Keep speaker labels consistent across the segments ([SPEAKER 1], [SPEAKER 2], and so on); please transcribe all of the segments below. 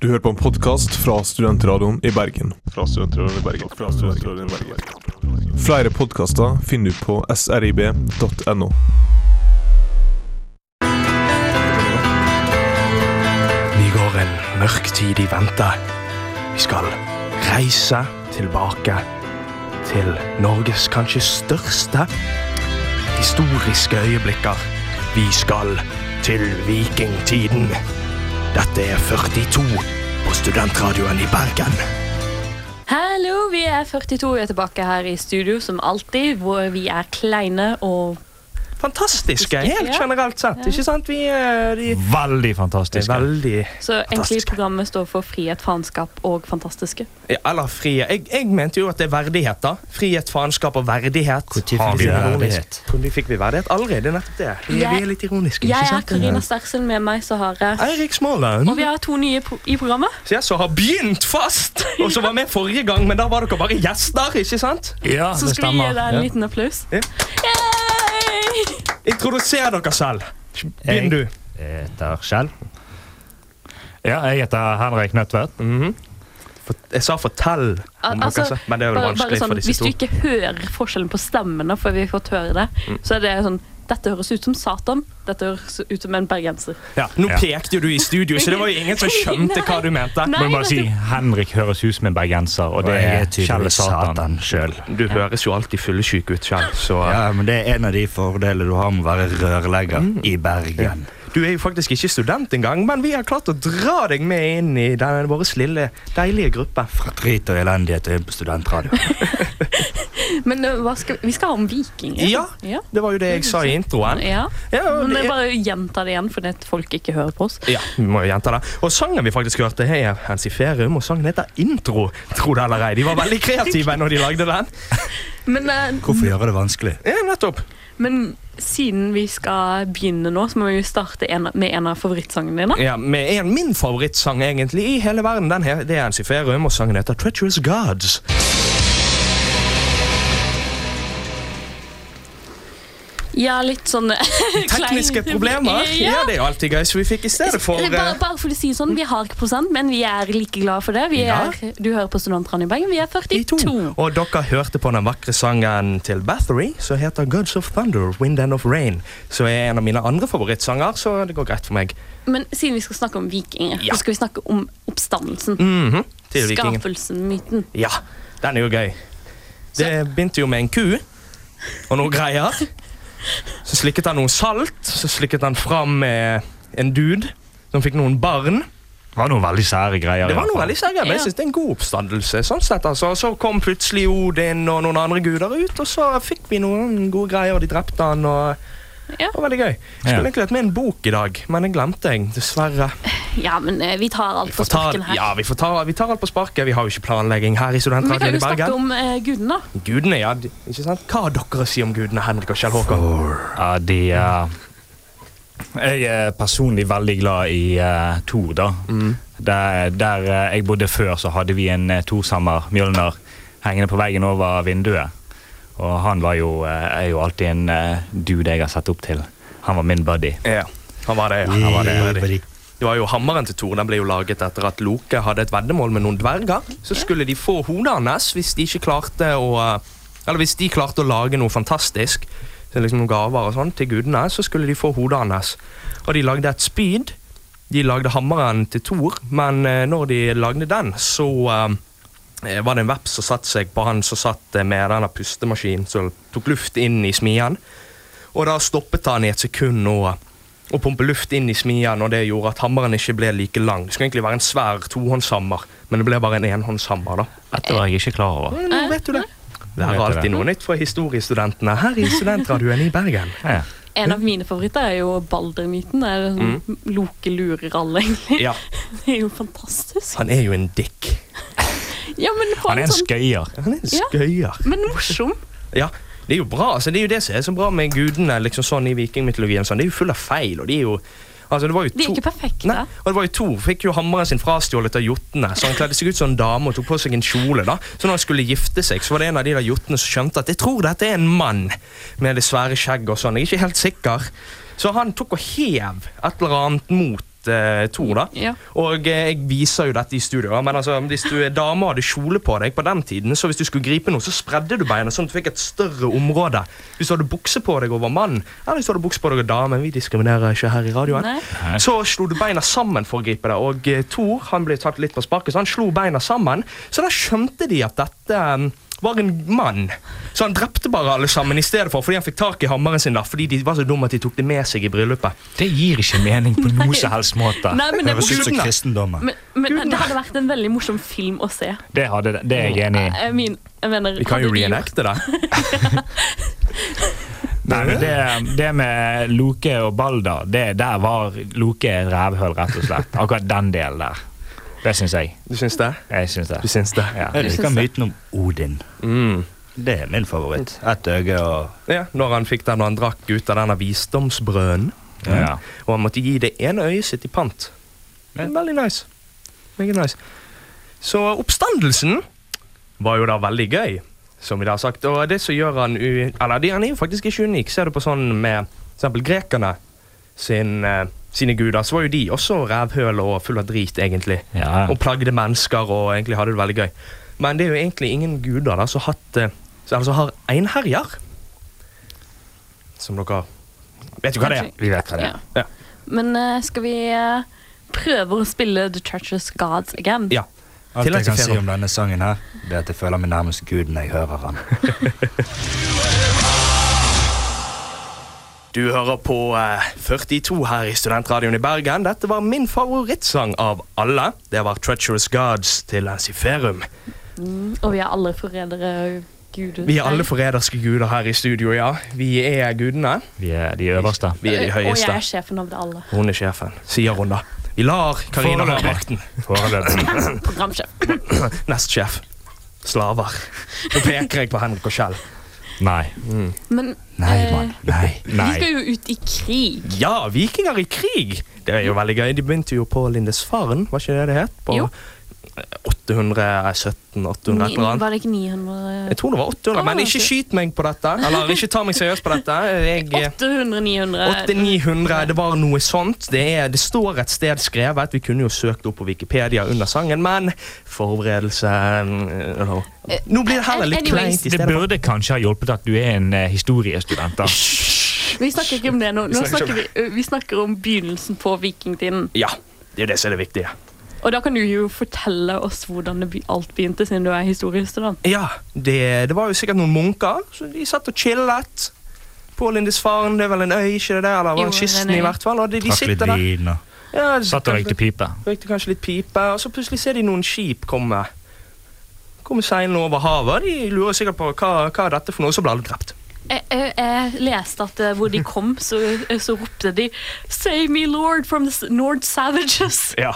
[SPEAKER 1] Du hører på en podkast fra Studentradioen i Bergen.
[SPEAKER 2] Fra Studentradioen i Bergen. Fra Studentradioen i Bergen.
[SPEAKER 1] Flere podkaster finner du på srib.no.
[SPEAKER 3] Vi går en mørk tid i vente. Vi skal reise tilbake til Norges kanskje største historiske øyeblikker. Vi skal til vikingtiden. Dette er 42 på Studentradioen i Bergen.
[SPEAKER 4] Hallo, vi er 42 og er tilbake her i studio som alltid, hvor vi er kleine og
[SPEAKER 3] Fantastiske, helt
[SPEAKER 4] Ja.
[SPEAKER 3] generelt sett. Ikke sant? Vi er, de
[SPEAKER 5] Veldig
[SPEAKER 3] er
[SPEAKER 5] fantastisk.
[SPEAKER 3] veldig
[SPEAKER 4] Så egentlig
[SPEAKER 3] Fantastiske.
[SPEAKER 4] programmet står for frihet, faenskap og fantastiske.
[SPEAKER 3] Ja, Eller frihet. Jeg, jeg mente jo at det er verdighet, da. Frihet, faenskap og verdighet.
[SPEAKER 5] Hvor tid fikk vi
[SPEAKER 3] Ironisk.
[SPEAKER 5] verdighet?
[SPEAKER 3] Hvor fikk vi verdighet? Allerede, det er nettopp det. Vi,
[SPEAKER 4] Jeg-
[SPEAKER 3] vi er litt ironiske,
[SPEAKER 4] Jeg
[SPEAKER 3] ikke
[SPEAKER 4] er
[SPEAKER 3] sant?
[SPEAKER 4] Karina Stersen, med meg så har jeg
[SPEAKER 3] Eirik Småland.
[SPEAKER 4] Og vi har to nye pro i programmet.
[SPEAKER 3] Så jeg så har begynt fast, og så var med forrige gang, men da var dere bare gjester, ikke sant?
[SPEAKER 5] Ja,
[SPEAKER 4] Så
[SPEAKER 5] det
[SPEAKER 4] skal vi gi
[SPEAKER 5] stemmer.
[SPEAKER 4] deg en
[SPEAKER 5] Ja.
[SPEAKER 4] liten applaus.
[SPEAKER 3] Ja.
[SPEAKER 4] Yay!
[SPEAKER 3] Introduser dere selv. Begynn du.
[SPEAKER 6] Jeg heter Kjell.
[SPEAKER 5] ja, jeg heter Henrik Nødtvedt.
[SPEAKER 3] Jeg sa fortell. om
[SPEAKER 4] Al- altså,
[SPEAKER 3] dere selv, men det er vel
[SPEAKER 4] Bare, bare
[SPEAKER 3] vanskelig
[SPEAKER 4] sånn,
[SPEAKER 3] for disse
[SPEAKER 4] hvis du
[SPEAKER 3] to.
[SPEAKER 4] ikke hører forskjellen på stemmene, for vi har fått høre det,
[SPEAKER 3] Mm.
[SPEAKER 4] så er det sånn Dette høres ut som Satan. Dette høres ut som en bergenser.
[SPEAKER 3] Ja, nå
[SPEAKER 5] Ja.
[SPEAKER 3] pekte jo du i studio, så det var jo ingen som skjønte hva du mente.
[SPEAKER 4] Nei,
[SPEAKER 5] Må jeg bare
[SPEAKER 4] vet
[SPEAKER 5] si,
[SPEAKER 4] du-
[SPEAKER 5] Henrik høres ut som en bergenser, og det
[SPEAKER 6] Og jeg
[SPEAKER 5] er
[SPEAKER 6] er
[SPEAKER 5] Kjell
[SPEAKER 6] tydeligvis
[SPEAKER 5] Satan
[SPEAKER 6] Satan
[SPEAKER 5] sjøl.
[SPEAKER 3] Du høres jo alltid fyllesyk ut selv, så
[SPEAKER 6] Ja, men Det er en av de fordelene du har med å være rørlegger
[SPEAKER 3] Mm.
[SPEAKER 6] i Bergen.
[SPEAKER 3] Du er jo faktisk ikke student engang, men vi har klart å dra deg med inn i denne vår lille, deilige gruppe.
[SPEAKER 6] Fra drit og elendighet og inn på studentradioen.
[SPEAKER 4] Men øh, hva skal, vi skal ha om vikinger.
[SPEAKER 3] Ja,
[SPEAKER 4] ja.
[SPEAKER 3] det var jo det jeg sa i introen.
[SPEAKER 4] ja.
[SPEAKER 3] Ja, og
[SPEAKER 4] Men
[SPEAKER 3] det
[SPEAKER 4] jeg
[SPEAKER 3] er-
[SPEAKER 4] bare gjentar det igjen, fordi at folk ikke hører på oss.
[SPEAKER 3] Ja, vi må jo gjenta det. Og sangen vi faktisk hørte, hei, Hansi Ferum, og sangen heter Intro. Tro det eller ei. De var veldig kreative når de lagde den.
[SPEAKER 4] Men, eh,
[SPEAKER 6] Hvorfor gjøre det vanskelig?
[SPEAKER 3] Ja, nettopp.
[SPEAKER 4] men siden vi skal begynne nå, så må vi jo starte en, med en av favorittsangene dine.
[SPEAKER 3] Ja, med en min favorittsang egentlig i hele verden. Den her, det er Hansi Ferum, og sangen heter Treacherous Gods.
[SPEAKER 4] Ja, litt sånn
[SPEAKER 3] Tekniske problemer.
[SPEAKER 4] Ja.
[SPEAKER 3] Ja, det er jo alltid gøy, så vi fikk i stedet for
[SPEAKER 4] Eller bare,
[SPEAKER 3] eh,
[SPEAKER 4] bare for å si det sånn, Vi har ikke prosent, men vi er like glad for det. Vi
[SPEAKER 3] Ja.
[SPEAKER 4] er, du hører på Studentradioen i Bergen. Vi er 42.
[SPEAKER 3] de to. Og dere hørte på den vakre sangen til Bathory, som heter Gods of Thunder, Wind and of Rain. Som er en av mine andre favorittsanger, så det går greit for meg.
[SPEAKER 4] Men siden vi skal snakke om vikinger,
[SPEAKER 3] Ja.
[SPEAKER 4] så skal vi snakke om oppstandelsen.
[SPEAKER 3] Mhm, til vikingen.
[SPEAKER 4] skapelsen, myten.
[SPEAKER 3] Ja, den er jo gøy. Det begynte jo med en ku og noen greier. Så slikket han noe salt, så slikket han fram eh, en dude som fikk noen barn.
[SPEAKER 5] Det var noen veldig sære greier.
[SPEAKER 3] Det
[SPEAKER 5] i
[SPEAKER 3] var
[SPEAKER 5] hvert
[SPEAKER 3] noe
[SPEAKER 5] fall.
[SPEAKER 3] veldig særlig, men jeg synes det er en god oppstandelse. sånn sett altså. Så kom plutselig Odin og noen andre guder ut, og så fikk vi noen gode greier, og de drepte han. og...
[SPEAKER 4] Ja.
[SPEAKER 3] Det var veldig gøy. Jeg
[SPEAKER 5] Ja.
[SPEAKER 3] skulle egentlig hatt med en bok i dag, men den glemte jeg, dessverre.
[SPEAKER 4] Ja, men eh, vi tar alt på
[SPEAKER 3] Får ta-
[SPEAKER 4] sparken her.
[SPEAKER 3] ja, vi, får ta, vi tar alt på sparket. Vi har jo ikke planlegging her i
[SPEAKER 4] Men vi kan
[SPEAKER 3] Studentradioen
[SPEAKER 4] jo
[SPEAKER 3] i Bergen.
[SPEAKER 4] snakke om eh, gudene, da.
[SPEAKER 3] Gudene, ja. de- Ikke sant? Hva har dere å si om gudene, Henrik og Kjell Håkon?
[SPEAKER 5] Ja, de eh, Jeg er personlig veldig glad i uh, Tor, da. Der, der eh, jeg bodde før, så hadde vi en uh, Torsammer Mjølner hengende på veggen over vinduet. Og han var jo, eh, er jo alltid en eh, dude jeg har sett opp til. Han var min buddy.
[SPEAKER 3] Ja, han var det. ja, Han var det. Det var jo Hammeren til Thor den ble jo laget etter at Loke hadde et veddemål med noen dverger. Så skulle de få hodet hans hvis de ikke klarte å eh, Eller hvis de klarte å lage noe fantastisk, så liksom noen gaver og sånn, til gudene, så skulle de få hodet hans. Og de lagde et spyd. De lagde hammeren til Thor, men eh, når de lagde den, så eh, var det en veps som satte seg på han som satt eh, med denne pustemaskinen som tok luft inn i smien. Og da stoppet han i et sekund å, å pumpe luft inn i smien, og det gjorde at hammeren ikke ble like lang. Det skulle egentlig være en svær tohåndshammer, men det ble bare en enhåndshammer, da.
[SPEAKER 5] Dette var jeg ikke klar over.
[SPEAKER 3] Men nå vet du det. Det er alltid noe nytt for historiestudentene her i Studentradioen i Bergen.
[SPEAKER 5] Ja.
[SPEAKER 4] En av mine favoritter er jo Balder-myten. Det er sånn Loke lurer alle, egentlig.
[SPEAKER 3] Mm. Ja,
[SPEAKER 4] Det er jo fantastisk.
[SPEAKER 3] han er jo en dick.
[SPEAKER 4] Ja, men på
[SPEAKER 5] Han
[SPEAKER 4] en
[SPEAKER 5] er en
[SPEAKER 4] sånn
[SPEAKER 5] skøyer.
[SPEAKER 3] Han er en
[SPEAKER 4] Ja.
[SPEAKER 3] skøyer.
[SPEAKER 4] Men morsom.
[SPEAKER 3] Ja, det er jo bra. Altså, det er jo det som er så bra med gudene liksom sånn i vikingmytologien. Sånn. Det er jo full av feil, og de er jo Altså, det var jo
[SPEAKER 4] De er
[SPEAKER 3] to-
[SPEAKER 4] ikke perfekte.
[SPEAKER 3] Nei, og det var jo Thor fikk jo hammeren sin frastjålet av jotnene, så han kledde seg ut som en dame og tok på seg en kjole. da. Så når han skulle gifte seg, så var det en av de der jotnene som skjønte at jeg tror dette er en mann med det svære skjegget og sånn. Jeg er ikke helt sikker. Så han tok og hev et eller annet mot eh, Thor, da.
[SPEAKER 4] Ja.
[SPEAKER 3] Og eh, jeg viser jo dette i studio, da, men altså, hvis du er dame og hadde kjole på deg på den tiden, så hvis du skulle gripe noe, så spredde du beina sånn at du fikk et større område. Hvis du hadde bukse på deg over mann, eller hvis du hadde bukse på deg over dame, vi diskriminerer ikke her i radioen,
[SPEAKER 4] Nei.
[SPEAKER 3] så slo du beina sammen for å gripe det. Og eh, Thor, han ble tatt litt på sparket, så han slo beina sammen, så da skjønte de at dette eh, var en mann. Så han drepte bare alle sammen i stedet for, fordi han fikk tak i hammeren sin da, fordi de var så dumme at de tok det med seg i bryllupet.
[SPEAKER 5] Det gir ikke mening på noe som helst måte.
[SPEAKER 4] Nei, men det,
[SPEAKER 6] Høres ut
[SPEAKER 4] er
[SPEAKER 6] som
[SPEAKER 4] morsomt.
[SPEAKER 6] kristendommen.
[SPEAKER 4] men, men det hadde vært en veldig morsom film å se.
[SPEAKER 5] Det, hadde, det er jeg enig i.
[SPEAKER 4] Jeg, min, jeg mener
[SPEAKER 3] Vi kan jo
[SPEAKER 4] hadde de gjort-
[SPEAKER 3] reenacte det.
[SPEAKER 5] Nei, men det, det med Loke og Balder, det der var Loke et rævhøl, rett og slett. Akkurat den delen der. Det syns jeg.
[SPEAKER 3] Du syns det?
[SPEAKER 5] Jeg syns det.
[SPEAKER 3] Du syns det?
[SPEAKER 5] Ja.
[SPEAKER 6] Jeg
[SPEAKER 4] Jeg
[SPEAKER 6] liker
[SPEAKER 4] synes det.
[SPEAKER 6] myten om Odin.
[SPEAKER 3] Mm.
[SPEAKER 6] Det er min favoritt. Ett øye og
[SPEAKER 3] Ja, når han fikk den, og han drakk ut av denne visdomsbrønnen.
[SPEAKER 5] Ja.
[SPEAKER 3] Og han måtte gi det ene øyet sitt i pant. Det er Veldig nice. Meget nice. Så oppstandelsen var jo da veldig gøy, som vi da har sagt. Og det som gjør han u... Eller det- han er jo faktisk ikke unik. Ser du på sånn med for eksempel grekerne sin, eh, sine guder, så var jo de også rævhøl og full av drit, egentlig.
[SPEAKER 5] Ja.
[SPEAKER 3] Og plagde mennesker og egentlig hadde det veldig gøy. Men det er jo egentlig ingen guder da, som har hatt eh, som- eller som har einherjer. Som dere Vet jo hva det er?
[SPEAKER 5] Vi vet hva det er.
[SPEAKER 3] Ja.
[SPEAKER 4] Men eh, skal vi eh, prøve å spille The Church's Gods again?
[SPEAKER 3] ja.
[SPEAKER 6] Alt
[SPEAKER 3] Tillegg til
[SPEAKER 6] jeg kan si
[SPEAKER 3] Fero.
[SPEAKER 6] om denne sangen her, det er at jeg føler meg nærmest Gud når jeg hører han.
[SPEAKER 3] Du hører på eh, 42 her i Studentradioen i Bergen. Dette var min favorittsang av alle. Det var 'Treacherous Gods' til Lansiferum.
[SPEAKER 4] Og vi er alle forrædere og guder.
[SPEAKER 3] Vi er alle forræderske guder her i studio, ja. Vi er gudene.
[SPEAKER 5] Vi er de øverste.
[SPEAKER 3] Vi er de
[SPEAKER 4] Eh, Og jeg
[SPEAKER 3] høyeste.
[SPEAKER 4] er sjefen over det alle.
[SPEAKER 3] Hun er sjefen, sier hun da. Vi lar Karina ha
[SPEAKER 5] Foreløpig.
[SPEAKER 3] makten.
[SPEAKER 5] Foreløpig.
[SPEAKER 4] Programsjef.
[SPEAKER 3] Nestsjef. Slaver. Nå peker jeg på Henrik og Kjell.
[SPEAKER 5] Nei.
[SPEAKER 4] Men
[SPEAKER 6] Nei,
[SPEAKER 4] eh,
[SPEAKER 6] mann. Nei.
[SPEAKER 4] vi
[SPEAKER 5] Nei.
[SPEAKER 4] skal jo ut i krig.
[SPEAKER 3] Ja, vikinger i krig! Det er jo veldig gøy. De begynte jo på Lindesfaren, var ikke det det het? På
[SPEAKER 4] Jo.
[SPEAKER 3] 817-800
[SPEAKER 4] Ni,
[SPEAKER 3] et eller annet.
[SPEAKER 4] var det ikke 900
[SPEAKER 3] Jeg tror det var 800,
[SPEAKER 4] Ah,
[SPEAKER 3] men ikke skyt meg på dette. Eller ikke ta meg seriøst på dette. Jeg...
[SPEAKER 4] 800-900?
[SPEAKER 3] 8900, det var noe sånt. Det, er, det står et sted skrevet. Vi kunne jo søkt opp på Wikipedia under sangen, men forberedelse mm, eller- Nå blir det heller litt
[SPEAKER 4] Eh, Anyways.
[SPEAKER 3] kleint i
[SPEAKER 5] Det
[SPEAKER 3] stedet.
[SPEAKER 5] burde kanskje ha hjulpet at du er en eh, historiestudent. da.
[SPEAKER 4] Vi snakker ikke om det nå. nå
[SPEAKER 3] Vi snakker
[SPEAKER 4] snakker vi, vi snakker om begynnelsen på vikingtiden.
[SPEAKER 3] Ja, det er det som er det viktige.
[SPEAKER 4] Og da kan du jo fortelle oss hvordan det be- alt begynte, siden du er historiestudent.
[SPEAKER 3] Ja, det, det var jo sikkert noen munker, så de satt og chillet. På Lindisfaren, det er vel en øy, ikke det der? Eller
[SPEAKER 4] Jo,
[SPEAKER 3] var det kysten
[SPEAKER 4] en øy.
[SPEAKER 3] i hvert fall? Og de, de
[SPEAKER 6] Trakk litt
[SPEAKER 3] sitter der.
[SPEAKER 6] vin og
[SPEAKER 3] Ja, de
[SPEAKER 5] Satt og røykte pipe.
[SPEAKER 3] røykte kanskje litt pipe, og så plutselig ser de noen skip komme. Kommer seilende over havet, og de lurer sikkert på hva, hva er dette for noe, og så blir alle drept.
[SPEAKER 4] Jeg, jeg, jeg leste at eh, hvor de kom, så, eh, så ropte de 'Save me, Lord, from the s- Nord Savages'.
[SPEAKER 3] Ja.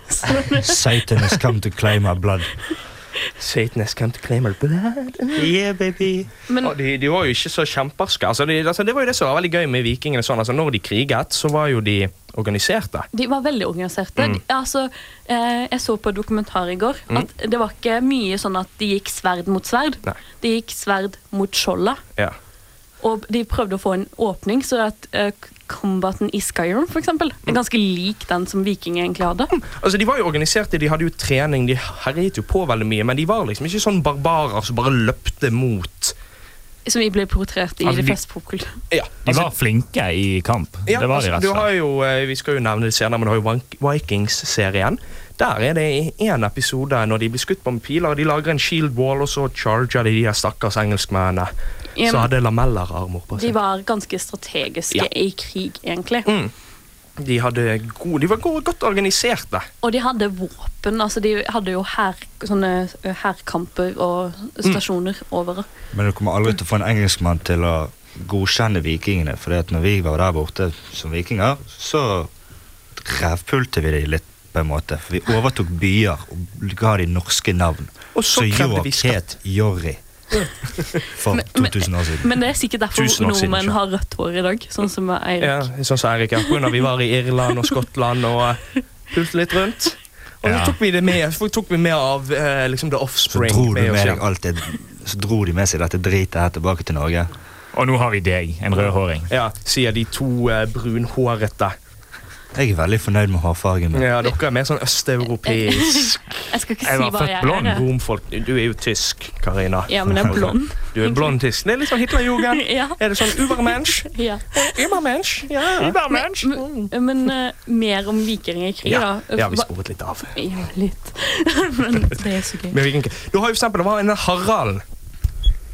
[SPEAKER 4] Så,
[SPEAKER 6] Satan has come to claim our blood.
[SPEAKER 3] Satan has come to claim our blood.
[SPEAKER 6] Yeah, baby.
[SPEAKER 4] men
[SPEAKER 3] Og de, de var jo ikke så kjemperske. Altså, de, altså, det var jo det som var veldig gøy med vikingene. Sånn. Altså, når de kriget, så var jo de organiserte.
[SPEAKER 4] de var veldig organiserte.
[SPEAKER 3] Mm.
[SPEAKER 4] De, altså, eh, jeg så på dokumentar i går at det var ikke mye sånn at de gikk sverd mot sverd.
[SPEAKER 3] Mm. Nei.
[SPEAKER 4] De gikk sverd mot skjoldet.
[SPEAKER 3] Ja.
[SPEAKER 4] Og de prøvde å få en åpning, så at eh, combaten i Skyrim for eksempel, er ganske lik den som vikingene egentlig hadde.
[SPEAKER 3] Altså, De var jo organiserte, de hadde jo trening, de herjet jo på veldig mye, men de var liksom ikke sånn barbarer som bare løpte mot
[SPEAKER 4] Som vi ble portrettert i de
[SPEAKER 5] Altså, de-
[SPEAKER 4] fleste popkulturene.
[SPEAKER 3] Ja, altså,
[SPEAKER 5] De var flinke i kamp.
[SPEAKER 3] ja,
[SPEAKER 5] Det var de
[SPEAKER 3] altså,
[SPEAKER 5] rett
[SPEAKER 3] du
[SPEAKER 5] og
[SPEAKER 3] har
[SPEAKER 5] slett.
[SPEAKER 3] jo, eh, Vi skal jo nevne det senere, men du har jo Vank- Vikings-serien. Der er det i én episode når de blir skutt på med piler, og de lager en shield wall, og så charger de de her stakkars engelskmennene
[SPEAKER 4] Ja,
[SPEAKER 3] som
[SPEAKER 4] men-
[SPEAKER 3] hadde lamellerarmer på
[SPEAKER 4] De
[SPEAKER 3] seg.
[SPEAKER 4] var ganske
[SPEAKER 3] Altså.
[SPEAKER 4] strategiske
[SPEAKER 3] Ja.
[SPEAKER 4] i krig, egentlig.
[SPEAKER 3] Mm. De, hadde god, de var gode, godt organiserte.
[SPEAKER 4] Og de hadde våpen. altså De hadde jo hær, sånne eh, hærkamper og stasjoner over.
[SPEAKER 6] Men du kommer aldri til å få en engelskmann til å godkjenne vikingene. For at når vi var der borte som vikinger, så revpulte vi dem litt. på en måte. For vi overtok byer og ga de norske navn.
[SPEAKER 3] Og så
[SPEAKER 6] så
[SPEAKER 3] krevde vi skatt.
[SPEAKER 6] het Jorri. For
[SPEAKER 4] Men- men-
[SPEAKER 6] 2000 år siden.
[SPEAKER 4] Men det er sikkert derfor
[SPEAKER 5] Tusen år siden,
[SPEAKER 4] nordmenn
[SPEAKER 5] ikke?
[SPEAKER 4] har rødt hår i dag. Sånn som Eirik.
[SPEAKER 3] Ja, sånn som Erik, ja. På grunn av vi var i Irland og Skottland og eh, pulte litt rundt. Og så
[SPEAKER 5] Ja.
[SPEAKER 3] tok vi det med, så tok vi med av eh, liksom The
[SPEAKER 6] Så
[SPEAKER 3] Offspring.
[SPEAKER 6] dro, de
[SPEAKER 3] oss
[SPEAKER 6] med
[SPEAKER 3] hjem.
[SPEAKER 6] deg alt det, så dro de med seg dette dritet her tilbake til Norge.
[SPEAKER 5] Og nå har vi deg, en rødhåring.
[SPEAKER 3] Ja, sier de to eh, brunhårete.
[SPEAKER 6] Jeg er veldig fornøyd med hårfargen min.
[SPEAKER 3] Ja, dere er mer sånn østeuropeisk.
[SPEAKER 4] Jeg skal ikke
[SPEAKER 5] Jeg
[SPEAKER 4] si
[SPEAKER 5] var
[SPEAKER 4] hva
[SPEAKER 5] født
[SPEAKER 4] jeg er.
[SPEAKER 5] blond.
[SPEAKER 4] jeg.
[SPEAKER 3] Romfolk. Du er jo tysk, Karina.
[SPEAKER 4] Ja, men jeg er blond.
[SPEAKER 3] Du er blond tysk. Det er litt sånn Hitlerjugend.
[SPEAKER 4] Ja.
[SPEAKER 3] Er det sånn Ubermensch?
[SPEAKER 4] ja.
[SPEAKER 3] Ubermensch? Ja. Ubermensch?
[SPEAKER 4] Men, men eh, mer om vikinger i krig,
[SPEAKER 3] Ja,
[SPEAKER 4] da.
[SPEAKER 3] ja, vi
[SPEAKER 4] Hva-
[SPEAKER 3] sporet litt av.
[SPEAKER 4] Ja, litt. men det er så gøy.
[SPEAKER 3] Men vi kan ikke. Du har jo for eksempel, det var en Harald.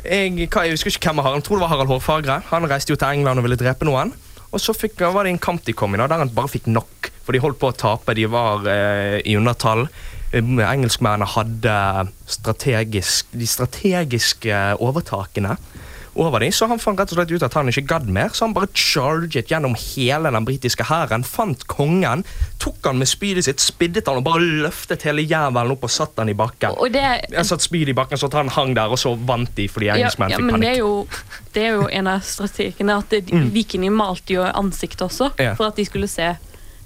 [SPEAKER 3] Jeg, hva, jeg husker ikke hvem av Harald, jeg tror det var Harald Hårfagre. Han reiste jo til England og ville drepe noen. Og så fikk, var det en kamp de kom i, da, der han bare fikk nok. For de holdt på å tape, de var eh, i undertall. Eh, Engelskmennene hadde strategisk, de strategiske eh, overtakene over dem. Så han fant rett og slett ut at han ikke gadd mer, så han bare charget gjennom hele den britiske hæren. Fant kongen, tok han med spydet sitt, spiddet han og bare løftet hele jævelen opp og satt han i bakken.
[SPEAKER 4] Og det er
[SPEAKER 3] Jeg satt spyd i bakken, så at han hang der, og så vant de fordi
[SPEAKER 4] ja,
[SPEAKER 3] engelskmenn
[SPEAKER 4] ja,
[SPEAKER 3] fikk
[SPEAKER 4] men det
[SPEAKER 3] panikk. Mm.
[SPEAKER 4] er, jo, det er jo en av strategiene at det- vikingene malte jo ansiktet også,
[SPEAKER 3] Ja.
[SPEAKER 4] for at de skulle se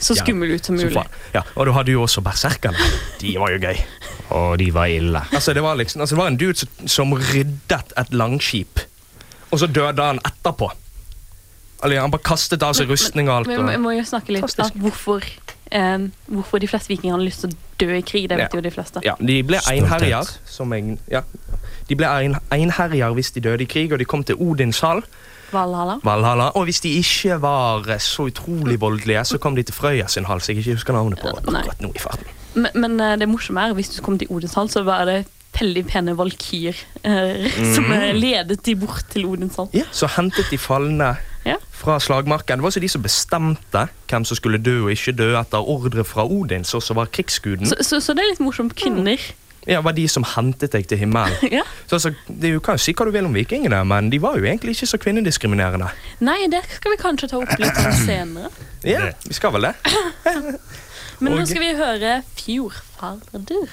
[SPEAKER 4] så
[SPEAKER 3] Ja.
[SPEAKER 4] skumle ut som
[SPEAKER 3] Så
[SPEAKER 4] mulig.
[SPEAKER 3] faen. Ja, og du hadde jo også berserkerne. De var jo gøy.
[SPEAKER 5] Og de var ille.
[SPEAKER 3] Altså, det var liksom, altså, det var en dude som, som ryddet et langskip, og så døde han etterpå. Eller, han bare kastet av seg rustning og alt.
[SPEAKER 4] Men vi
[SPEAKER 3] Og,
[SPEAKER 4] må jo snakke litt
[SPEAKER 3] Fantastisk.
[SPEAKER 4] om hvorfor, eh, hvorfor de fleste vikinger har lyst til å dø i krig. Det vet
[SPEAKER 3] Ja.
[SPEAKER 4] jo de fleste.
[SPEAKER 3] ja, de ble
[SPEAKER 6] Stolthet.
[SPEAKER 3] einherjer, som jeg Ja. De ble ein- einherjer hvis de døde i krig, og de kom til Odins hall.
[SPEAKER 4] Valhalla.
[SPEAKER 3] Valhalla. Og hvis de ikke var eh, så utrolig voldelige, så kom de til Frøya sin hall, som jeg ikke husker navnet på
[SPEAKER 4] Nei.
[SPEAKER 3] akkurat nå i farten.
[SPEAKER 4] Men, men eh, det morsomme er, hvis du kom til Odinshall, så var det veldig pene valkyr eh, som
[SPEAKER 3] Mm.
[SPEAKER 4] eh, ledet de bort til Odinshall.
[SPEAKER 3] Ja. Så hentet de falne
[SPEAKER 4] Ja.
[SPEAKER 3] fra slagmarken. Det var også de som bestemte hvem som skulle dø og ikke dø etter ordre fra Odin, så som var krigsguden.
[SPEAKER 4] Så, så, så det er litt morsomt. Kvinner.
[SPEAKER 3] Ja, var de som hentet deg til himmelen.
[SPEAKER 4] Ja.
[SPEAKER 3] Så altså, det er jo, kan jo si hva du vil om vikingene, men de var jo egentlig ikke så kvinnediskriminerende.
[SPEAKER 4] Nei, det skal vi kanskje ta opp litt sånn senere.
[SPEAKER 3] Ja,
[SPEAKER 6] Det.
[SPEAKER 3] vi skal vel det.
[SPEAKER 4] Men nå
[SPEAKER 3] Og-
[SPEAKER 4] skal vi høre Fjordfarder.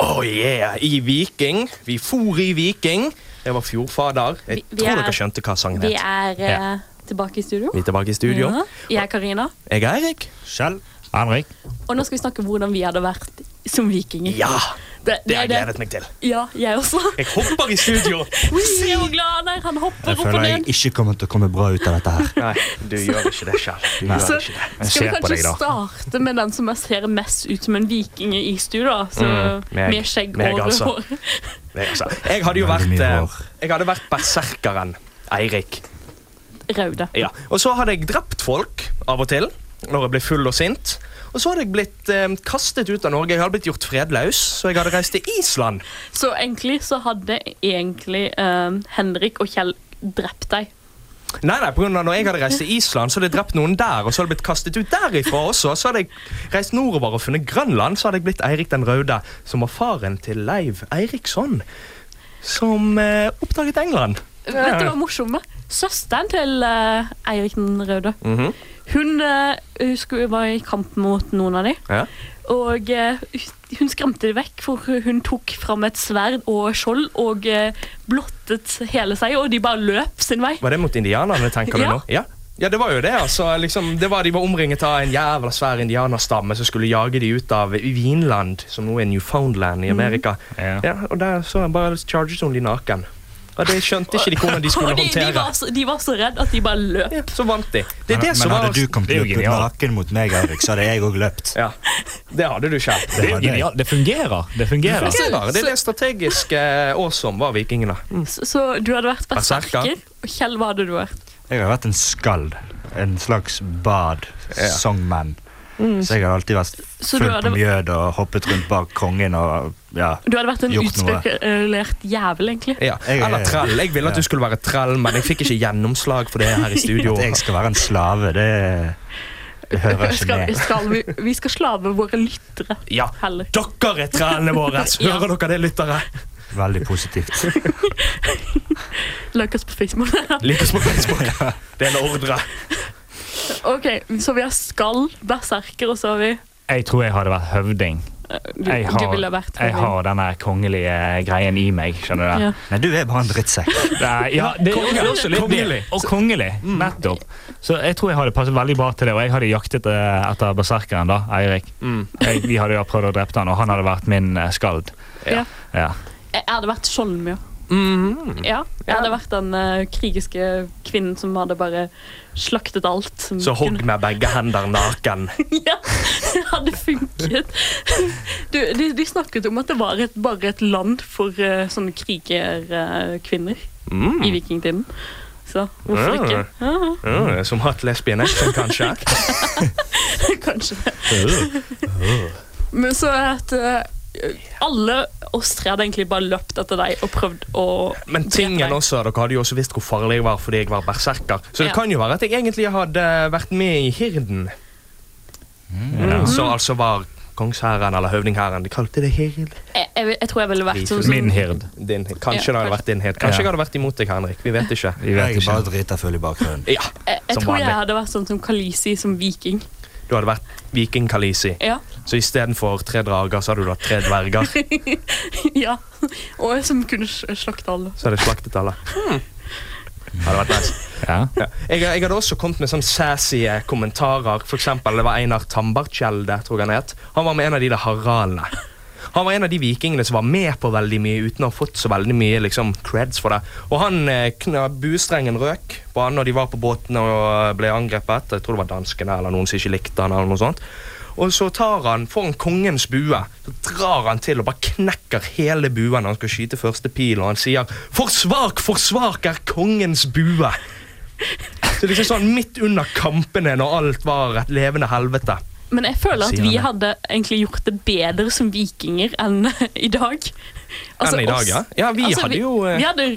[SPEAKER 3] Oh yeah, i Viking. Vi for i Viking. Det var Fjordfader. Jeg
[SPEAKER 4] Vi- vi
[SPEAKER 3] tror
[SPEAKER 4] er-
[SPEAKER 3] dere skjønte hva sangen
[SPEAKER 4] Vi
[SPEAKER 3] het.
[SPEAKER 4] er eh, tilbake i studio.
[SPEAKER 3] Vi er tilbake i studio.
[SPEAKER 4] Ja. Jeg er Karina,
[SPEAKER 3] Jeg er Erik.
[SPEAKER 6] Skjell.
[SPEAKER 5] Henrik?
[SPEAKER 4] og nå skal vi snakke om hvordan vi hadde vært som vikinger.
[SPEAKER 3] Ja,
[SPEAKER 4] det,
[SPEAKER 3] det har jeg
[SPEAKER 4] det-
[SPEAKER 3] gledet meg til.
[SPEAKER 4] Ja, jeg også.
[SPEAKER 3] Jeg hopper i studio.
[SPEAKER 4] Se hvor glad han er! Han hopper
[SPEAKER 6] Jeg
[SPEAKER 4] opp og
[SPEAKER 6] føler jeg
[SPEAKER 4] ned.
[SPEAKER 6] ikke kommer til å komme bra ut av dette her.
[SPEAKER 3] Nei, du gjør ikke det selv. Du gjør
[SPEAKER 4] Så-
[SPEAKER 3] ikke det.
[SPEAKER 4] Skal vi
[SPEAKER 5] Jeg ser på
[SPEAKER 4] kanskje
[SPEAKER 5] deg, da.
[SPEAKER 4] starte med den som jeg ser mest ut som en viking i studio? da? Så,
[SPEAKER 3] Mm, meg.
[SPEAKER 4] med skjegg
[SPEAKER 3] Meg,
[SPEAKER 4] og
[SPEAKER 3] altså.
[SPEAKER 4] hår.
[SPEAKER 3] Nei, altså, Jeg hadde jo
[SPEAKER 6] Veldig
[SPEAKER 3] vært,
[SPEAKER 6] mye
[SPEAKER 3] eh,
[SPEAKER 6] hår.
[SPEAKER 3] jeg hadde vært berserkeren Eirik.
[SPEAKER 4] Raude.
[SPEAKER 3] Ja. Og så hadde jeg drept folk av og til når jeg ble full og sint. Og så hadde jeg blitt eh, kastet ut av Norge. Jeg hadde blitt gjort fredløs, så jeg hadde reist til Island.
[SPEAKER 4] Så egentlig så hadde egentlig eh, Henrik og Kjell drept deg.
[SPEAKER 3] Nei, nei, på grunn av når jeg hadde reist til Island, så hadde jeg drept noen der. Og så hadde jeg blitt kastet ut derifra også. Så hadde jeg reist nordover og funnet Grønland. Så hadde jeg blitt Eirik den røde, som var faren til Leiv Eiriksson, som eh, oppdaget England.
[SPEAKER 4] Vet du hva morsomme? Søsteren til eh, Eirik den røde,
[SPEAKER 3] Mhm.
[SPEAKER 4] hun, eh, hun skulle, var i kamp mot noen av de,
[SPEAKER 3] Ja.
[SPEAKER 4] og eh, hun skremte de vekk, for hun tok fram et sverd og skjold og eh, blottet hele seg, og de bare løp sin vei.
[SPEAKER 3] Var det mot indianerne, tenker du
[SPEAKER 4] Ja.
[SPEAKER 3] nå? Ja. ja, det var jo det. altså. Liksom, det var, de var omringet av en jævla svær indianerstamme som skulle jage de ut av Vinland, som nå er Newfoundland
[SPEAKER 4] Mhm.
[SPEAKER 3] i Amerika.
[SPEAKER 5] Ja.
[SPEAKER 3] Ja, og der så jeg bare charget hun de naken. Og det skjønte ikke de hvordan de skulle
[SPEAKER 4] og de, de,
[SPEAKER 3] håndtere.
[SPEAKER 4] var så, de var så redd at de bare løp.
[SPEAKER 3] Ja, så vant de. Det er
[SPEAKER 6] Men,
[SPEAKER 3] det som
[SPEAKER 6] men
[SPEAKER 3] var
[SPEAKER 6] hadde du kommet
[SPEAKER 5] det er jo
[SPEAKER 6] opp med
[SPEAKER 5] genialt.
[SPEAKER 6] nakken mot meg, Eirik, så hadde jeg òg løpt.
[SPEAKER 3] Ja, det hadde du selv.
[SPEAKER 5] Det, er jo
[SPEAKER 6] hadde jeg.
[SPEAKER 5] genialt. det fungerer. Det fungerer.
[SPEAKER 3] Det var det, det strategiske år som var vikingene.
[SPEAKER 6] Mm.
[SPEAKER 4] Så, så du hadde vært berserker,
[SPEAKER 3] Berserker.
[SPEAKER 4] og Kjell, hva hadde du vært?
[SPEAKER 6] Jeg har vært en skald. En slags bard.
[SPEAKER 3] Ja.
[SPEAKER 6] Songman. Så jeg har alltid vært
[SPEAKER 4] Mm. Så
[SPEAKER 6] full
[SPEAKER 4] du
[SPEAKER 6] på
[SPEAKER 4] hadde-
[SPEAKER 6] mjød og hoppet rundt bak kongen og ja.
[SPEAKER 4] Du hadde vært en
[SPEAKER 6] Gjort noe.
[SPEAKER 4] utspekulert jævel, egentlig.
[SPEAKER 3] Ja.
[SPEAKER 6] Jeg-
[SPEAKER 3] Eller trell. Jeg ville at du skulle være trell, men jeg fikk ikke gjennomslag for det her i studio.
[SPEAKER 6] At jeg skal være en slave, det, det hører ikke
[SPEAKER 4] Skal,
[SPEAKER 6] med.
[SPEAKER 4] skal vi, vi skal slave våre lyttere
[SPEAKER 3] Ja,
[SPEAKER 4] heller.
[SPEAKER 3] dere er trellene våre!
[SPEAKER 4] Ja.
[SPEAKER 3] Hører dere det, lyttere?
[SPEAKER 6] Veldig positivt.
[SPEAKER 4] Like oss på Facebook.
[SPEAKER 3] Lik oss på Facebook. Det er en ordre.
[SPEAKER 4] ok, Så vi har skall, berserker, og så har vi
[SPEAKER 5] Jeg tror jeg hadde vært høvding.
[SPEAKER 4] du,
[SPEAKER 5] Jeg
[SPEAKER 4] du
[SPEAKER 5] har,
[SPEAKER 4] ville vært
[SPEAKER 5] jeg har denne kongelige greien i meg, skjønner du.
[SPEAKER 4] Ja.
[SPEAKER 5] det?
[SPEAKER 6] Nei, du er bare en drittsekk.
[SPEAKER 5] Det er- Ja, det
[SPEAKER 3] Konge er også litt
[SPEAKER 5] kongelig. Og kongelig, nettopp. Så jeg tror jeg hadde passet veldig bra til det, og jeg hadde jaktet eh, etter berserkeren, da, Eirik.
[SPEAKER 3] Mm.
[SPEAKER 5] Jeg, vi hadde jo prøvd å drepe han, og han hadde vært min eh, skald.
[SPEAKER 4] Ja.
[SPEAKER 5] Ja.
[SPEAKER 4] Jeg hadde vært Skjoldmjø.
[SPEAKER 3] Mhm.
[SPEAKER 4] Ja. Jeg hadde vært den eh, krigiske kvinnen som hadde bare slaktet alt. Som
[SPEAKER 3] Så hogg med begge hender naken.
[SPEAKER 4] Ja, det hadde funket. Du, de, de snakket om at det var et, bare et land for eh, sånne krigerkvinner
[SPEAKER 3] Mm.
[SPEAKER 4] i vikingtiden. Så hvorfor
[SPEAKER 3] Ja.
[SPEAKER 4] ikke? Ja,
[SPEAKER 3] Mm, som hatt lesbian action, kanskje.
[SPEAKER 4] kanskje det. Men så er at eh, alle oss tre hadde egentlig bare løpt etter deg og prøvd å
[SPEAKER 3] Men tingen også, dere hadde jo også visst hvor farlig jeg var fordi jeg var berserker. Så det
[SPEAKER 4] Ja.
[SPEAKER 3] kan jo være at jeg egentlig hadde vært med i hirden. Mm. Så altså var kongshæren eller høvdinghæren De kalte det hird.
[SPEAKER 4] jeg, jeg, vil- jeg tror jeg ville vært sånn som
[SPEAKER 5] Min hird.
[SPEAKER 3] Din, kanskje det
[SPEAKER 4] Ja,
[SPEAKER 3] hadde
[SPEAKER 4] kanskje.
[SPEAKER 3] vært din hird. Kanskje
[SPEAKER 5] Ja.
[SPEAKER 3] jeg hadde vært imot deg, Henrik. Vi vet ikke.
[SPEAKER 5] Vi vet
[SPEAKER 6] Jeg er
[SPEAKER 5] ikke.
[SPEAKER 6] bare dritafull i bakgrunnen.
[SPEAKER 3] Ja,
[SPEAKER 4] Jeg, jeg
[SPEAKER 5] Som
[SPEAKER 4] tror jeg
[SPEAKER 5] vanlig.
[SPEAKER 4] hadde vært sånn som Kalisi som viking.
[SPEAKER 3] Du hadde vært viking-Kalisi.
[SPEAKER 4] Ja.
[SPEAKER 3] Så istedenfor tre drager, så hadde du hatt tre dverger.
[SPEAKER 4] ja. Og som kunne sl- slakte alle.
[SPEAKER 3] Så hadde jeg slaktet alle. Hadde vært nice.
[SPEAKER 5] Ja.
[SPEAKER 3] Ja. Jeg, jeg hadde også kommet med sånn sassy eh, kommentarer. For eksempel, det var Einar Tambarkjelde, tror jeg han het. Han var med en av de der haralene. Han var en av de vikingene som var med på veldig mye uten å ha fått så veldig mye liksom, creds for det. Og han eh, kna buestrengen røk på han når de var på båten og eh, ble angrepet. Jeg tror det var danskene eller noen som ikke likte han eller noe sånt. Og så tar han foran kongens bue, så drar han til og bare knekker hele buen. Han skal skyte første pil, og han sier 'For svak, for svak er kongens bue'. Så liksom sånn midt under kampene når alt var et levende helvete.
[SPEAKER 4] Men jeg føler at
[SPEAKER 3] Sier han
[SPEAKER 4] vi
[SPEAKER 3] det?
[SPEAKER 4] hadde egentlig gjort det bedre som vikinger enn i dag.
[SPEAKER 3] Enn i dag, ja. Ja, vi
[SPEAKER 4] altså,
[SPEAKER 3] hadde jo eh,
[SPEAKER 4] Vi hadde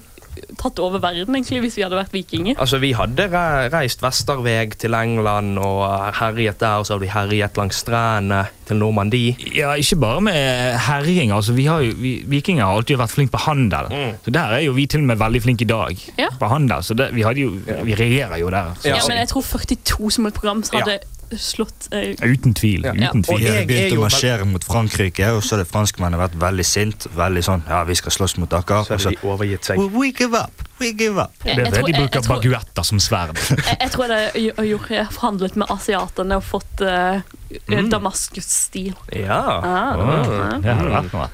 [SPEAKER 4] tatt over verden, egentlig, hvis vi hadde vært vikinger.
[SPEAKER 3] Altså, Vi hadde re- reist vesterveg til England og eh, herjet der. Og så hadde vi herjet langs strendene til Normandie.
[SPEAKER 5] Ja, ikke bare med herjing. Altså, vi har jo, vi, vikinger har alltid vært flinke på handel.
[SPEAKER 3] Mm.
[SPEAKER 5] Så Der er jo vi til og med veldig flinke i dag.
[SPEAKER 4] Ja.
[SPEAKER 5] På handel, så det, vi, hadde jo, vi regjerer jo der. altså. Så.
[SPEAKER 4] Ja,
[SPEAKER 3] Ja,
[SPEAKER 4] men jeg tror 42 som et program så hadde slått eh,
[SPEAKER 5] Uten tvil.
[SPEAKER 3] Ja.
[SPEAKER 5] uten
[SPEAKER 3] Og
[SPEAKER 5] tvil.
[SPEAKER 6] De
[SPEAKER 3] jeg
[SPEAKER 6] hadde
[SPEAKER 3] er
[SPEAKER 6] begynt
[SPEAKER 3] jo
[SPEAKER 6] å
[SPEAKER 3] vel-
[SPEAKER 6] marsjere mot Frankrike, og så hadde franskmennene vært veldig sint, veldig sånn, ja, vi skal slåss mot dere.
[SPEAKER 3] Så
[SPEAKER 6] Og
[SPEAKER 3] hadde
[SPEAKER 6] så,
[SPEAKER 3] de overgitt seg.
[SPEAKER 6] we, we give up, we give up.
[SPEAKER 4] jeg, jeg,
[SPEAKER 5] Det er det
[SPEAKER 4] tror,
[SPEAKER 5] de
[SPEAKER 4] jeg,
[SPEAKER 5] bruker
[SPEAKER 4] jeg, tror,
[SPEAKER 5] baguetter som sverd.
[SPEAKER 4] jeg, jeg tror jeg hadde gjort, jeg forhandlet med asiatene og fått eh,
[SPEAKER 5] Mm.
[SPEAKER 4] Damaskus-stil.
[SPEAKER 3] Ja, Ah.
[SPEAKER 5] Åh, det hadde vært noe.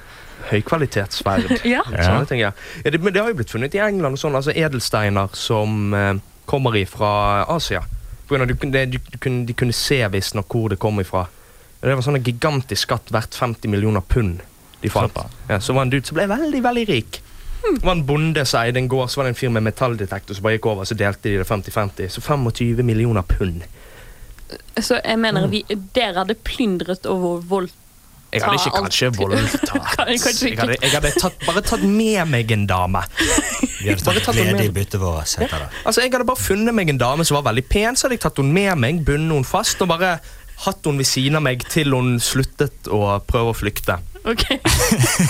[SPEAKER 3] Høykvalitetsverd.
[SPEAKER 4] Ja.
[SPEAKER 3] Sånne ting, ja. Ja, det, men det har jo blitt funnet i England og sånn, altså edelsteiner som eh, kommer ifra Asia. På grunn av du, kun- det, du, du, kunne, de kunne se visstnok hvor det kom ifra. Det var sånn en gigantisk skatt verdt 50 millioner pund de fant.
[SPEAKER 5] Såpass.
[SPEAKER 3] Ja, så var det en dude som ble veldig, veldig rik.
[SPEAKER 4] Hmm.
[SPEAKER 3] Det var en bonde som eide en gård, så var det en fyr med metalldetektor som bare gikk over, så delte de det 50-50. Så 25 millioner pund.
[SPEAKER 4] Så jeg mener vi, dere hadde plyndret og vo- voldt
[SPEAKER 3] Jeg hadde ikke
[SPEAKER 4] Ta alt.
[SPEAKER 3] kanskje voldtatt.
[SPEAKER 4] Kanskje
[SPEAKER 3] Jeg
[SPEAKER 4] ikke.
[SPEAKER 3] hadde, jeg hadde tatt, bare tatt med meg en dame.
[SPEAKER 6] Vi hadde
[SPEAKER 3] Bare
[SPEAKER 6] tatt
[SPEAKER 3] tatt dem
[SPEAKER 6] glede i
[SPEAKER 3] med.
[SPEAKER 6] byttet vårt, heter det.
[SPEAKER 3] Altså, Jeg hadde bare funnet meg en dame som var veldig pen, så hadde jeg tatt henne med meg, bundet henne fast og bare hatt henne ved siden av meg til hun sluttet å prøve å flykte.
[SPEAKER 4] Ok.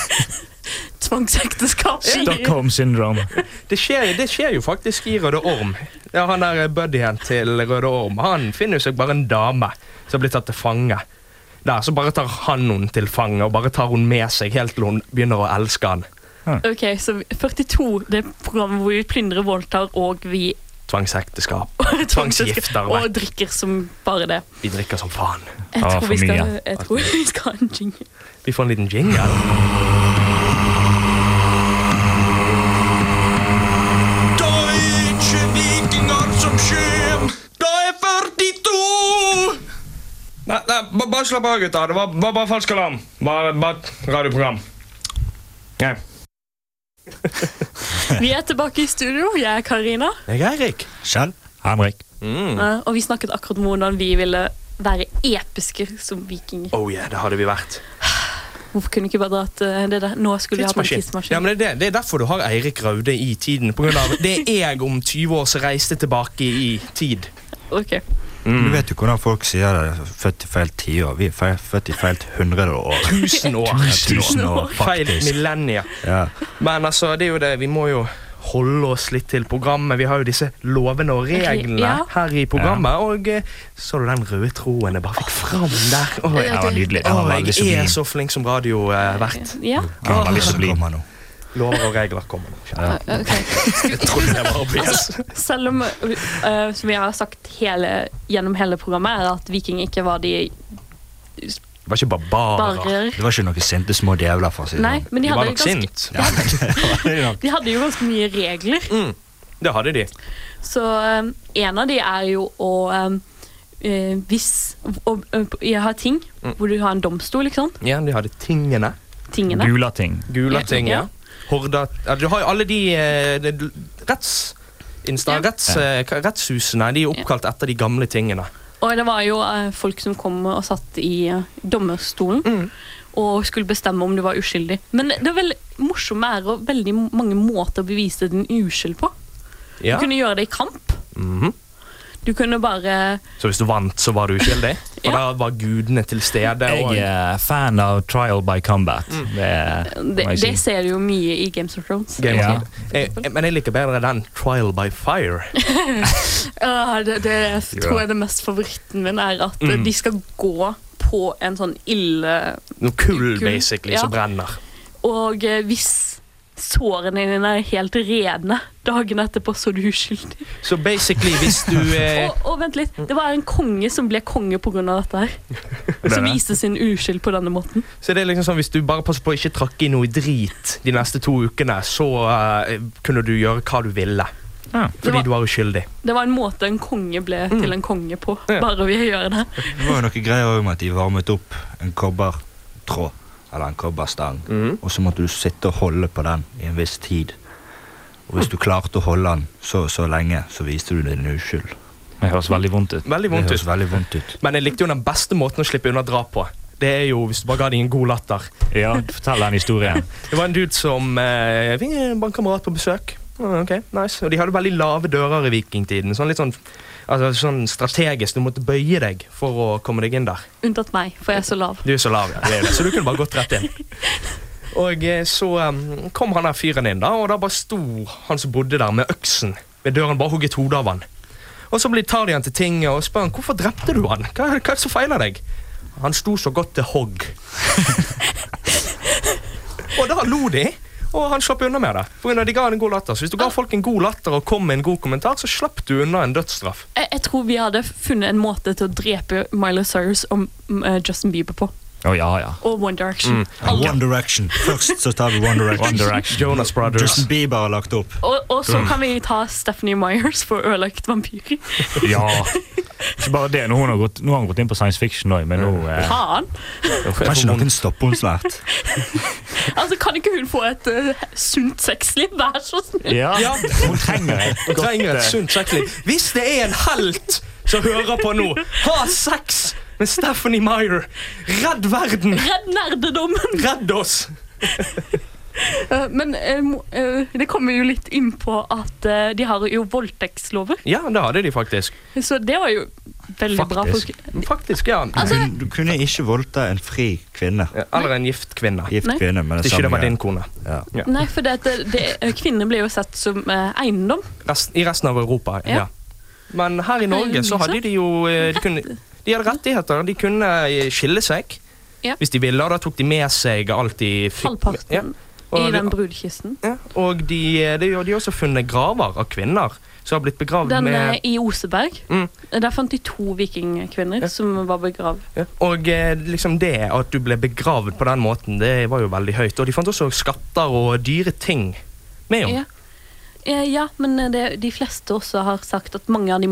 [SPEAKER 4] Tvangsekteskap.
[SPEAKER 5] Stockholm syndrome.
[SPEAKER 3] Det skjer, det skjer jo faktisk i Røde Orm. Ja, Han der buddyen til Røde Orm han finner jo seg bare en dame som blir tatt til fange. Der, Så bare tar han henne til fange og bare tar hun med seg helt til hun begynner å elske han.
[SPEAKER 4] Ok, så 42 det er programmet hvor vi plyndrer, voldtar og vi
[SPEAKER 3] Tvangsekteskap.
[SPEAKER 4] tvangsgifter
[SPEAKER 3] Tvangsgifter.
[SPEAKER 4] og
[SPEAKER 3] vet du.
[SPEAKER 4] drikker som bare det.
[SPEAKER 3] Vi drikker som faen.
[SPEAKER 4] Jeg
[SPEAKER 5] Ah,
[SPEAKER 4] tror,
[SPEAKER 5] for
[SPEAKER 4] vi skal,
[SPEAKER 5] mye.
[SPEAKER 4] jeg tror vi skal ha en jingle.
[SPEAKER 3] Vi får en liten jingle.
[SPEAKER 2] Da er ikke vikinger som skjer. Da er 42!
[SPEAKER 3] Nei, nei, ba- bare slapp av, gutter. Det var, var bare falsk alarm. Bare, bare et radioprogram. Nei.
[SPEAKER 4] Vi er tilbake i studio. Jeg er Karina,
[SPEAKER 3] Jeg er Erik.
[SPEAKER 6] Kjell?
[SPEAKER 5] Henrik.
[SPEAKER 3] Mm.
[SPEAKER 4] eh, og vi snakket akkurat om hvordan vi ville være episke som vikinger.
[SPEAKER 3] Oh yeah, det hadde vi vært.
[SPEAKER 4] Hvorfor kunne vi ikke bare dratt eh, det der? Nå skulle vi hatt en tidsmaskin.
[SPEAKER 3] Ja, men det, er det. det er derfor du har Eirik Raude i tiden. På grunn av det er jeg om 20 år som reiste tilbake i tid.
[SPEAKER 4] Ok.
[SPEAKER 6] Du vet jo hvordan folk sier det, altså, født i feil tiår. Vi er feil, født i feil hundrede år.
[SPEAKER 3] Tusen år.
[SPEAKER 6] Tusen år,
[SPEAKER 3] Feil
[SPEAKER 6] faktisk.
[SPEAKER 3] millennia.
[SPEAKER 6] Ja.
[SPEAKER 3] Men altså, det er jo det. Vi må jo holde oss litt til programmet. Vi har jo disse lovene og reglene
[SPEAKER 4] Ja.
[SPEAKER 3] her i programmet. Og eh, så du den røde troen jeg bare fikk fram der? Å,
[SPEAKER 5] Den
[SPEAKER 3] jeg,
[SPEAKER 5] var nydelig. Den var
[SPEAKER 3] å,
[SPEAKER 5] veldig
[SPEAKER 3] jeg er
[SPEAKER 5] sublim.
[SPEAKER 3] så flink som radiovert.
[SPEAKER 4] Ja,
[SPEAKER 5] Den var veldig sublim.
[SPEAKER 6] Kommer nå.
[SPEAKER 3] Lover og regler kommer nå. kjære.
[SPEAKER 4] Eh, ok. Altså, Selv om, eh, som vi har sagt hele, gjennom hele programmet, er at viking ikke var de
[SPEAKER 3] Det var ikke barbarer.
[SPEAKER 4] barer.
[SPEAKER 6] Det var ikke noen sinte små djevler, for å si det
[SPEAKER 4] Nei,
[SPEAKER 6] sånn.
[SPEAKER 4] men de
[SPEAKER 3] De var
[SPEAKER 4] hadde,
[SPEAKER 3] nok
[SPEAKER 4] ganske,
[SPEAKER 3] sint.
[SPEAKER 4] de hadde jo ganske mye regler.
[SPEAKER 3] Mm, Det hadde de.
[SPEAKER 4] Så um, en av de er jo å um, eh, Hvis og, og, Jeg har ting
[SPEAKER 3] Mm.
[SPEAKER 4] hvor du har en domstol, ikke sant?
[SPEAKER 3] Ja, de hadde tingene.
[SPEAKER 4] Tingene.
[SPEAKER 5] Gula ting.
[SPEAKER 3] Gula
[SPEAKER 4] Ja,
[SPEAKER 3] ting, ja.
[SPEAKER 4] ja.
[SPEAKER 3] Horda ja, Du har jo alle de eh, det- retts... Insta,
[SPEAKER 4] Ja.
[SPEAKER 3] retts, eh, ka- rettshusene de er oppkalt etter de gamle tingene.
[SPEAKER 4] Og det var jo eh, folk som kom og satt i eh, dommerstolen
[SPEAKER 3] Mm.
[SPEAKER 4] og skulle bestemme om du var uskyldig. Men det var veldig morsomt med ære og veldig mange måter å bevise din uskyld på. Du
[SPEAKER 3] Ja.
[SPEAKER 4] kunne gjøre det i kamp.
[SPEAKER 3] Mhm.
[SPEAKER 4] Du kunne bare
[SPEAKER 3] Så hvis du vant, så var du uskyldig? For da var gudene til stede. Og,
[SPEAKER 5] Jeg er fan av trial by combat.
[SPEAKER 3] Mm.
[SPEAKER 5] Det,
[SPEAKER 4] Det,
[SPEAKER 5] må jeg
[SPEAKER 4] det
[SPEAKER 5] si.
[SPEAKER 4] ser du jo mye i Games of Thrones.
[SPEAKER 3] Game of
[SPEAKER 5] Ja.
[SPEAKER 3] Thrones. Eh, eh, men jeg liker bedre den Trial by Fire.
[SPEAKER 4] Ja, det, det tror jeg det mest favoritten min er at
[SPEAKER 3] Mm.
[SPEAKER 4] eh, de skal gå på en sånn ille
[SPEAKER 3] Noe kull,
[SPEAKER 4] Kull,
[SPEAKER 3] basically, som
[SPEAKER 4] ja.
[SPEAKER 3] brenner.
[SPEAKER 4] Og eh, hvis sårene dine er helt rene dagen etterpå, så er du uskyldig.
[SPEAKER 3] Så basically, hvis du eh,
[SPEAKER 4] Og, og vent litt, det var en konge som ble konge pga. dette her. Som
[SPEAKER 5] det?
[SPEAKER 4] viste sin uskyld på denne måten.
[SPEAKER 3] Så det er liksom sånn, Hvis du bare passer på å ikke trakke i noe drit de neste to ukene, så eh, kunne du gjøre hva du ville.
[SPEAKER 5] Ja.
[SPEAKER 4] Det
[SPEAKER 3] Fordi
[SPEAKER 4] var-
[SPEAKER 3] du var uskyldig.
[SPEAKER 4] Det var en måte en konge ble til en konge på,
[SPEAKER 3] Mm. Ja.
[SPEAKER 4] bare ved å gjøre det.
[SPEAKER 6] Det var jo noen greier om at de varmet opp en kobbertråd, eller en kobberstang,
[SPEAKER 3] Mm.
[SPEAKER 6] og så måtte du sitte og holde på den i en viss tid. Og hvis du klarte å holde den så og så lenge, så viste du din uskyld.
[SPEAKER 5] Det høres veldig vondt ut.
[SPEAKER 3] Veldig
[SPEAKER 6] Det
[SPEAKER 3] vondt
[SPEAKER 6] høres
[SPEAKER 3] ut.
[SPEAKER 6] veldig vondt ut.
[SPEAKER 3] Men jeg likte jo den beste måten å slippe unna drap på. Det er jo hvis du bare ga dem en god latter.
[SPEAKER 5] Ja, Fortell den historien.
[SPEAKER 3] Det var en dude som eh, fikk en bankkamerat på besøk. Ah, Ok, nice. Og de hadde veldig lave dører i vikingtiden. Sånn litt sånn, altså, sånn strategisk. Du måtte bøye deg for å komme deg inn der.
[SPEAKER 4] Unntatt meg, for jeg er så lav.
[SPEAKER 3] Du er så lav, ja. Det er det. Så du kunne bare gått rett inn. Og eh, så em, kom han der fyren inn, da, og da bare sto han som bodde der, med øksen ved døren, bare hogget hodet av han. Og så blir- tar de han til tinget og spør han, hvorfor drepte du han? Hva, hva er det som feiler deg? Han sto så godt til hogg. og da lo de, og han slapp unna med det. For grunn av de ga han en god latter. Så hvis du ga folk en god latter og kom med en god kommentar, så slapp du unna en dødsstraff.
[SPEAKER 4] Jeg, jeg tror vi hadde funnet en måte til å drepe Miley Cyrus og mm, eh, Justin Bieber på.
[SPEAKER 5] Å ja, ja.
[SPEAKER 4] Og One Direction.
[SPEAKER 3] Mm.
[SPEAKER 4] Alle.
[SPEAKER 6] One Direction. Først så tar vi One Direction.
[SPEAKER 5] One Direction.
[SPEAKER 3] Jonas Brothers.
[SPEAKER 6] Justin Bieber har lagt opp.
[SPEAKER 4] Og, og så kan vi ta Stephanie Myers for ødelagt vampyr.
[SPEAKER 5] Ja. Ikke bare det, nå har hun gått, nå har hun gått inn på science fiction òg, men nå eh,
[SPEAKER 4] Faen!
[SPEAKER 6] Kanskje noen stopper henne snart.
[SPEAKER 4] Altså, kan ikke hun få et eh, sunt sexliv? Vær så snill!
[SPEAKER 5] ja,
[SPEAKER 3] Ja.
[SPEAKER 5] hun trenger det.
[SPEAKER 3] Du trenger et sunt sexliv. Hvis det er en helt som hører på nå, ha sex med Stephanie Meyer. Redd verden!
[SPEAKER 4] Redd nerdedommen!
[SPEAKER 3] Redd oss!
[SPEAKER 4] Eh, Men eh, mo- eh, det kommer jo litt inn på at eh, de har jo voldtektslover,
[SPEAKER 3] Ja, det hadde de faktisk.
[SPEAKER 4] så det var jo veldig bra.
[SPEAKER 5] Faktisk.
[SPEAKER 4] For,
[SPEAKER 3] Faktisk, ja.
[SPEAKER 6] Du kunne, du kunne ikke voldta en fri kvinne.
[SPEAKER 3] Eller en gift kvinne.
[SPEAKER 6] Gift
[SPEAKER 4] Nei.
[SPEAKER 6] kvinne, men det
[SPEAKER 3] Hvis ikke det
[SPEAKER 6] samme
[SPEAKER 3] var din
[SPEAKER 6] greia.
[SPEAKER 3] kone.
[SPEAKER 6] Ja.
[SPEAKER 4] nei, for det, at det, det, eh, kvinner ble jo sett som eh, eiendom.
[SPEAKER 3] Resten, I resten av Europa, ja.
[SPEAKER 4] Ja.
[SPEAKER 3] Men her i Norge så hadde de jo eh, De, kunne, de hadde rettigheter. De kunne eh, skille seg
[SPEAKER 4] Ja.
[SPEAKER 3] hvis de ville, og da tok de med seg alt de fikk.
[SPEAKER 4] Halvparten
[SPEAKER 3] Ja. Og
[SPEAKER 4] i
[SPEAKER 3] det-
[SPEAKER 4] den brudekisten.
[SPEAKER 3] Ja, og de, eh, de, de har også funnet graver av kvinner som har blitt begravd
[SPEAKER 4] Den
[SPEAKER 3] med
[SPEAKER 4] eh, i Oseberg.
[SPEAKER 3] Mm.
[SPEAKER 4] eh, Der fant de to vikingkvinner som var begravd.
[SPEAKER 3] Ja. Og eh, liksom det at du ble begravd på den måten, det var jo veldig høyt. Og de fant også skatter og dyre ting med henne.
[SPEAKER 4] Ja. Eh, ja, men eh, det, de fleste også har sagt at mange av de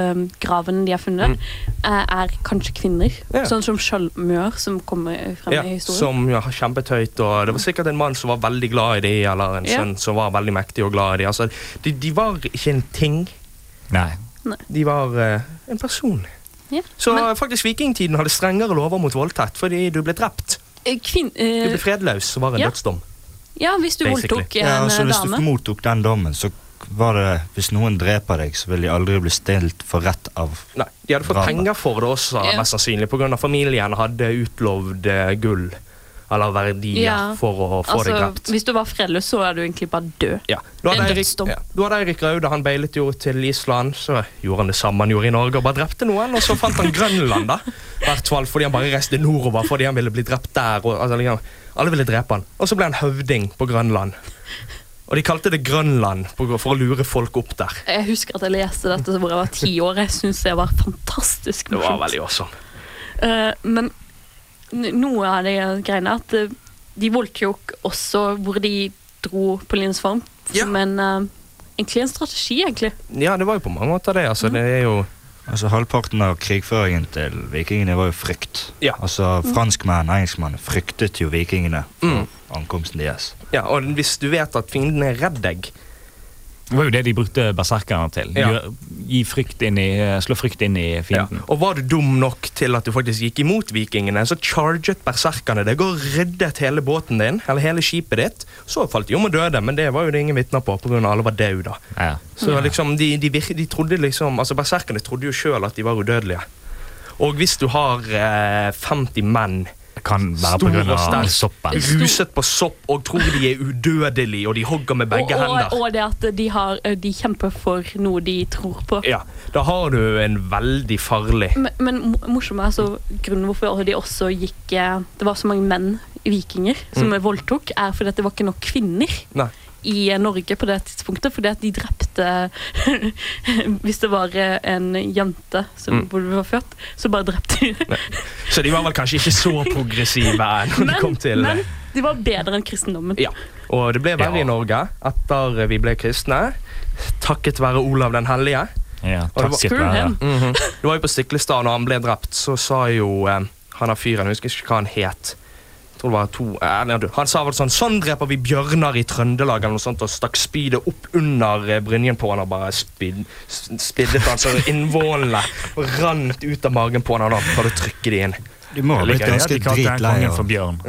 [SPEAKER 4] monstergravene de har funnet, eh, er kanskje kvinner.
[SPEAKER 3] Mm. Ja.
[SPEAKER 4] Sånn som Sjølmør, som kommer eh, frem
[SPEAKER 3] Ja,
[SPEAKER 4] i historien.
[SPEAKER 3] som ja, har kjempet høyt, og det var sikkert en mann som var veldig glad i de, eller en
[SPEAKER 4] Ja.
[SPEAKER 3] sønn som var veldig mektig og glad i de. Altså, de, de var ikke en ting,
[SPEAKER 5] eh, Nei.
[SPEAKER 3] de var eh, en person.
[SPEAKER 4] Ja.
[SPEAKER 3] Så
[SPEAKER 4] Men-
[SPEAKER 3] eh, faktisk vikingtiden hadde strengere lover mot voldtekt fordi du ble drept.
[SPEAKER 4] Eh, kvin-
[SPEAKER 3] Du
[SPEAKER 4] eh,
[SPEAKER 3] ble fredløs, var en
[SPEAKER 4] ja.
[SPEAKER 3] dødsdom.
[SPEAKER 4] Ja, hvis du
[SPEAKER 3] Basically.
[SPEAKER 4] voldtok en
[SPEAKER 6] Ja, så
[SPEAKER 4] eh,
[SPEAKER 6] hvis du
[SPEAKER 4] dame.
[SPEAKER 6] mottok den dommen, så var det Hvis noen dreper deg, så vil de aldri bli stilt for rett av
[SPEAKER 3] Nei, De hadde fått
[SPEAKER 6] Drama.
[SPEAKER 3] penger for det også,
[SPEAKER 4] Ja.
[SPEAKER 3] mest sannsynlig, pga. familien hadde utlovd eh, gull. Eller verdier
[SPEAKER 4] Ja.
[SPEAKER 3] for å få det
[SPEAKER 4] Altså,
[SPEAKER 3] drept.
[SPEAKER 4] hvis du var fredløs, så er du egentlig bare død.
[SPEAKER 3] Ja. Du hadde
[SPEAKER 4] En
[SPEAKER 3] Eirik,
[SPEAKER 4] dødsdom.
[SPEAKER 3] ja. du hadde Eirik Raude, han beilet jo til Island. Så gjorde han det samme han gjorde i Norge, og bare drepte noen. Og så fant han Grønland, da. I Hvert fall fordi han bare reiste nordover fordi han ville bli drept der. Og, altså, liksom, alle ville drepe han. Og så ble han høvding på Grønland. Og de kalte det Grønland på- for å lure folk opp der.
[SPEAKER 4] Jeg husker at jeg leste dette hvor jeg var ti år. Jeg syns det var fantastisk
[SPEAKER 3] Mm. Det var
[SPEAKER 4] morsomt.
[SPEAKER 3] veldig awesome.
[SPEAKER 4] Eh, men n- noe av det greiene er at eh, de voldtok også hvor de dro på Linsfarm.
[SPEAKER 3] Ja.
[SPEAKER 4] Men eh, egentlig en strategi, egentlig.
[SPEAKER 3] Ja, det var jo på mange måter det.
[SPEAKER 4] Mhm.
[SPEAKER 3] altså. Det er jo...
[SPEAKER 6] Altså Halvparten av krigføringen til vikingene var jo frykt.
[SPEAKER 3] Ja.
[SPEAKER 6] Altså Franskmenn engelskmenn fryktet jo vikingene for
[SPEAKER 3] Mm.
[SPEAKER 6] ankomsten deres.
[SPEAKER 3] Ja, og hvis du vet at fienden er redd deg
[SPEAKER 5] Det var jo det de brukte berserkerne til.
[SPEAKER 3] Ja.
[SPEAKER 5] Gjør, gi frykt inn i, eh, slå frykt inn i fienden.
[SPEAKER 3] Og var du dum nok til at du faktisk gikk imot vikingene, så charget berserkerne deg og reddet hele båten din, eller hele skipet ditt. Så falt de om og døde, men det var jo det ingen vitner på, pga. alle var døde. da.
[SPEAKER 5] Ja.
[SPEAKER 3] Så liksom, de, de, vir- de trodde liksom, altså Berserkerne trodde jo sjøl at de var udødelige. Og hvis du har eh, 50 menn
[SPEAKER 5] Det Kan være
[SPEAKER 3] Stor
[SPEAKER 5] på grunn
[SPEAKER 3] og
[SPEAKER 5] av
[SPEAKER 3] sterk.
[SPEAKER 5] soppen.
[SPEAKER 4] Stor-
[SPEAKER 3] ruset på sopp og tror de er udødelige, og de hogger med
[SPEAKER 4] Og,
[SPEAKER 3] begge
[SPEAKER 4] og,
[SPEAKER 3] hender
[SPEAKER 4] og det at de, har, eh, de kjemper for noe de tror på.
[SPEAKER 3] Ja, Da har du en veldig farlig
[SPEAKER 4] Men, men mo- morsomt er altså, grunnen hvorfor de også gikk eh, Det var så mange menn, vikinger, som voldtok, er fordi at det var ikke nok kvinner
[SPEAKER 3] Mm. Nei.
[SPEAKER 4] i eh, Norge på det tidspunktet. Fordi at de drepte Hvis det var eh, en jente
[SPEAKER 3] Mm.
[SPEAKER 4] som hvor du var født, så bare drepte de.
[SPEAKER 3] Så de var vel kanskje ikke så progressive når de kom til eh,
[SPEAKER 4] men de var bedre enn kristendommen.
[SPEAKER 3] Ja. Og det ble verre i
[SPEAKER 5] Ja.
[SPEAKER 3] Norge etter vi ble kristne. Takket være Olav den hellige.
[SPEAKER 5] Ja,
[SPEAKER 3] var-
[SPEAKER 5] takk skal
[SPEAKER 4] Screw
[SPEAKER 5] du ha.
[SPEAKER 4] him.
[SPEAKER 6] Mhm.
[SPEAKER 3] Det var jo på Stiklestad når han ble drept, så sa jo eh, han av fyren Jeg husker ikke hva han het. Jeg tror det var to, eh, nei, du, han sa vel sånn 'Sånn dreper vi bjørner i Trøndelag', eller noe sånt, og stakk spydet opp under eh, brynjen på han og bare spyd, s- spiddet han så innvollene og rant ut av magen på han, og da prøvde å trykke de inn.
[SPEAKER 6] De må
[SPEAKER 5] Det
[SPEAKER 6] ha blitt
[SPEAKER 5] er gøy at
[SPEAKER 6] ganske
[SPEAKER 5] de kalte han
[SPEAKER 6] dritlei
[SPEAKER 5] kongen
[SPEAKER 6] av
[SPEAKER 5] for bjørn.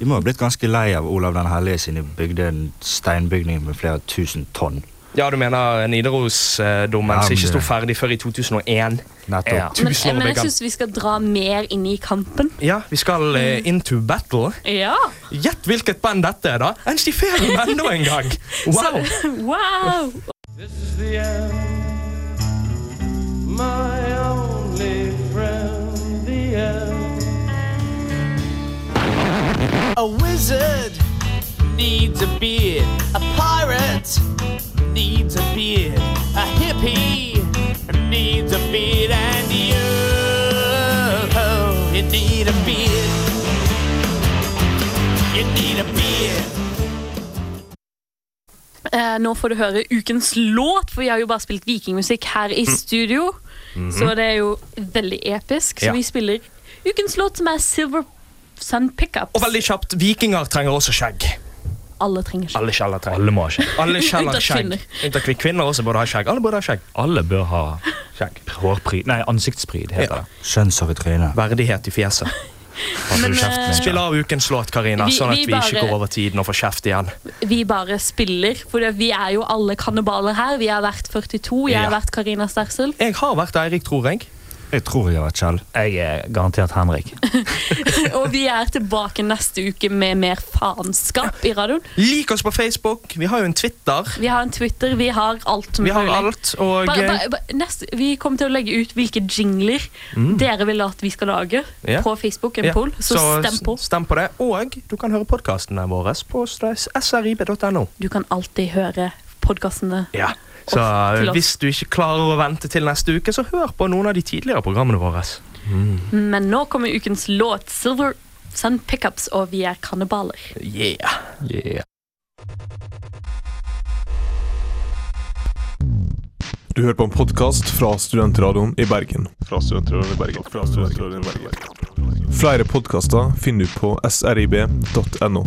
[SPEAKER 6] De må ha blitt ganske lei av Olav den hellige siden de bygde en steinbygning med flere tusen tonn.
[SPEAKER 3] Ja, du mener Nidarosdommen
[SPEAKER 6] Ja,
[SPEAKER 3] som ikke
[SPEAKER 6] men-
[SPEAKER 3] sto ferdig før i 2001?
[SPEAKER 6] Nettopp.
[SPEAKER 5] Ja.
[SPEAKER 4] Men, eh,
[SPEAKER 3] Tusen år
[SPEAKER 4] men jeg
[SPEAKER 3] gammel.
[SPEAKER 4] syns vi skal dra mer inn i kampen.
[SPEAKER 3] Ja, vi skal eh,
[SPEAKER 4] Mm.
[SPEAKER 3] into battle.
[SPEAKER 4] Ja!
[SPEAKER 3] Gjett hvilket band dette er, da! Enn Stiferen enda en gang! Wow!
[SPEAKER 4] Wow!
[SPEAKER 7] A wizard needs a beard. A pirate needs a beard. A hippie needs a beard. And you, Oh, you need a beard. You need a beard.
[SPEAKER 4] Eh, nå får du høre ukens låt, for vi har jo bare spilt vikingmusikk her i
[SPEAKER 3] Mm.
[SPEAKER 4] studio. Så det er jo veldig episk.
[SPEAKER 3] Mhm.
[SPEAKER 4] Så
[SPEAKER 3] Ja.
[SPEAKER 4] vi spiller ukens låt, som er Silver Sun Pickups.
[SPEAKER 3] Og veldig kjapt, vikinger trenger også skjegg.
[SPEAKER 4] Alle trenger skjegg.
[SPEAKER 3] Alle kjeller trenger
[SPEAKER 5] Alle må ha skjegg.
[SPEAKER 3] Alle kjeller
[SPEAKER 4] Unntatt
[SPEAKER 3] skjegg.
[SPEAKER 4] kvinner.
[SPEAKER 3] Unntatt kvin- kvinner også burde ha skjegg. Alle burde ha skjegg.
[SPEAKER 5] Alle bør ha
[SPEAKER 3] skjegg.
[SPEAKER 5] hårpryd Nei, ansiktspryd
[SPEAKER 3] Ja.
[SPEAKER 5] heter det.
[SPEAKER 6] Skjønnsår i trynet.
[SPEAKER 3] Verdighet i fjeset.
[SPEAKER 5] Passer du
[SPEAKER 4] Men,
[SPEAKER 5] kjeften din,
[SPEAKER 3] Spill av ukens låt, Karina,
[SPEAKER 4] Vi-
[SPEAKER 3] sånn at
[SPEAKER 4] vi
[SPEAKER 3] vi ikke
[SPEAKER 4] bare-
[SPEAKER 3] går over tiden og får kjeft igjen.
[SPEAKER 4] eh, Vi bare spiller, for det- vi er jo alle kannibaler her. Vi har vært 42, jeg har
[SPEAKER 3] Ja.
[SPEAKER 4] vært Karina Stersel.
[SPEAKER 3] Jeg har vært Eirik, tror jeg.
[SPEAKER 6] Jeg tror jeg har vært Kjell.
[SPEAKER 5] da? Jeg er garantert Henrik.
[SPEAKER 4] Og vi er tilbake neste uke med mer faenskap i radioen.
[SPEAKER 3] Lik oss på Facebook. Vi har jo en Twitter.
[SPEAKER 4] Vi har en Twitter, vi har alt
[SPEAKER 3] Vi har
[SPEAKER 4] mulig.
[SPEAKER 3] alt, og
[SPEAKER 4] Ba,
[SPEAKER 3] eh,
[SPEAKER 4] ba, ba, neste, vi kommer til å legge ut hvilke jingler dere vil at vi skal lage
[SPEAKER 3] Mm. Ja.
[SPEAKER 4] på Facebook. En
[SPEAKER 3] ja,
[SPEAKER 4] poll, så, stem på.
[SPEAKER 3] s- stem på det. Og du kan høre podkastene våre på srib.no.
[SPEAKER 4] Du kan alltid høre podkastene.
[SPEAKER 3] Ja. Så eh,
[SPEAKER 4] Og til oss.
[SPEAKER 3] hvis du ikke klarer å vente til neste uke, så hør på noen av de tidligere programmene våre.
[SPEAKER 4] Men nå kommer ukens låt, 'Silver Sun Pickups', og vi er kannibaler.
[SPEAKER 3] Yeah. yeah.
[SPEAKER 1] Du hører på en podkast fra Studentradioen i Bergen.
[SPEAKER 2] Fra Studentradioen i Bergen. Fra Studentradioen i Bergen.
[SPEAKER 1] Flere podkaster finner du på srib.no.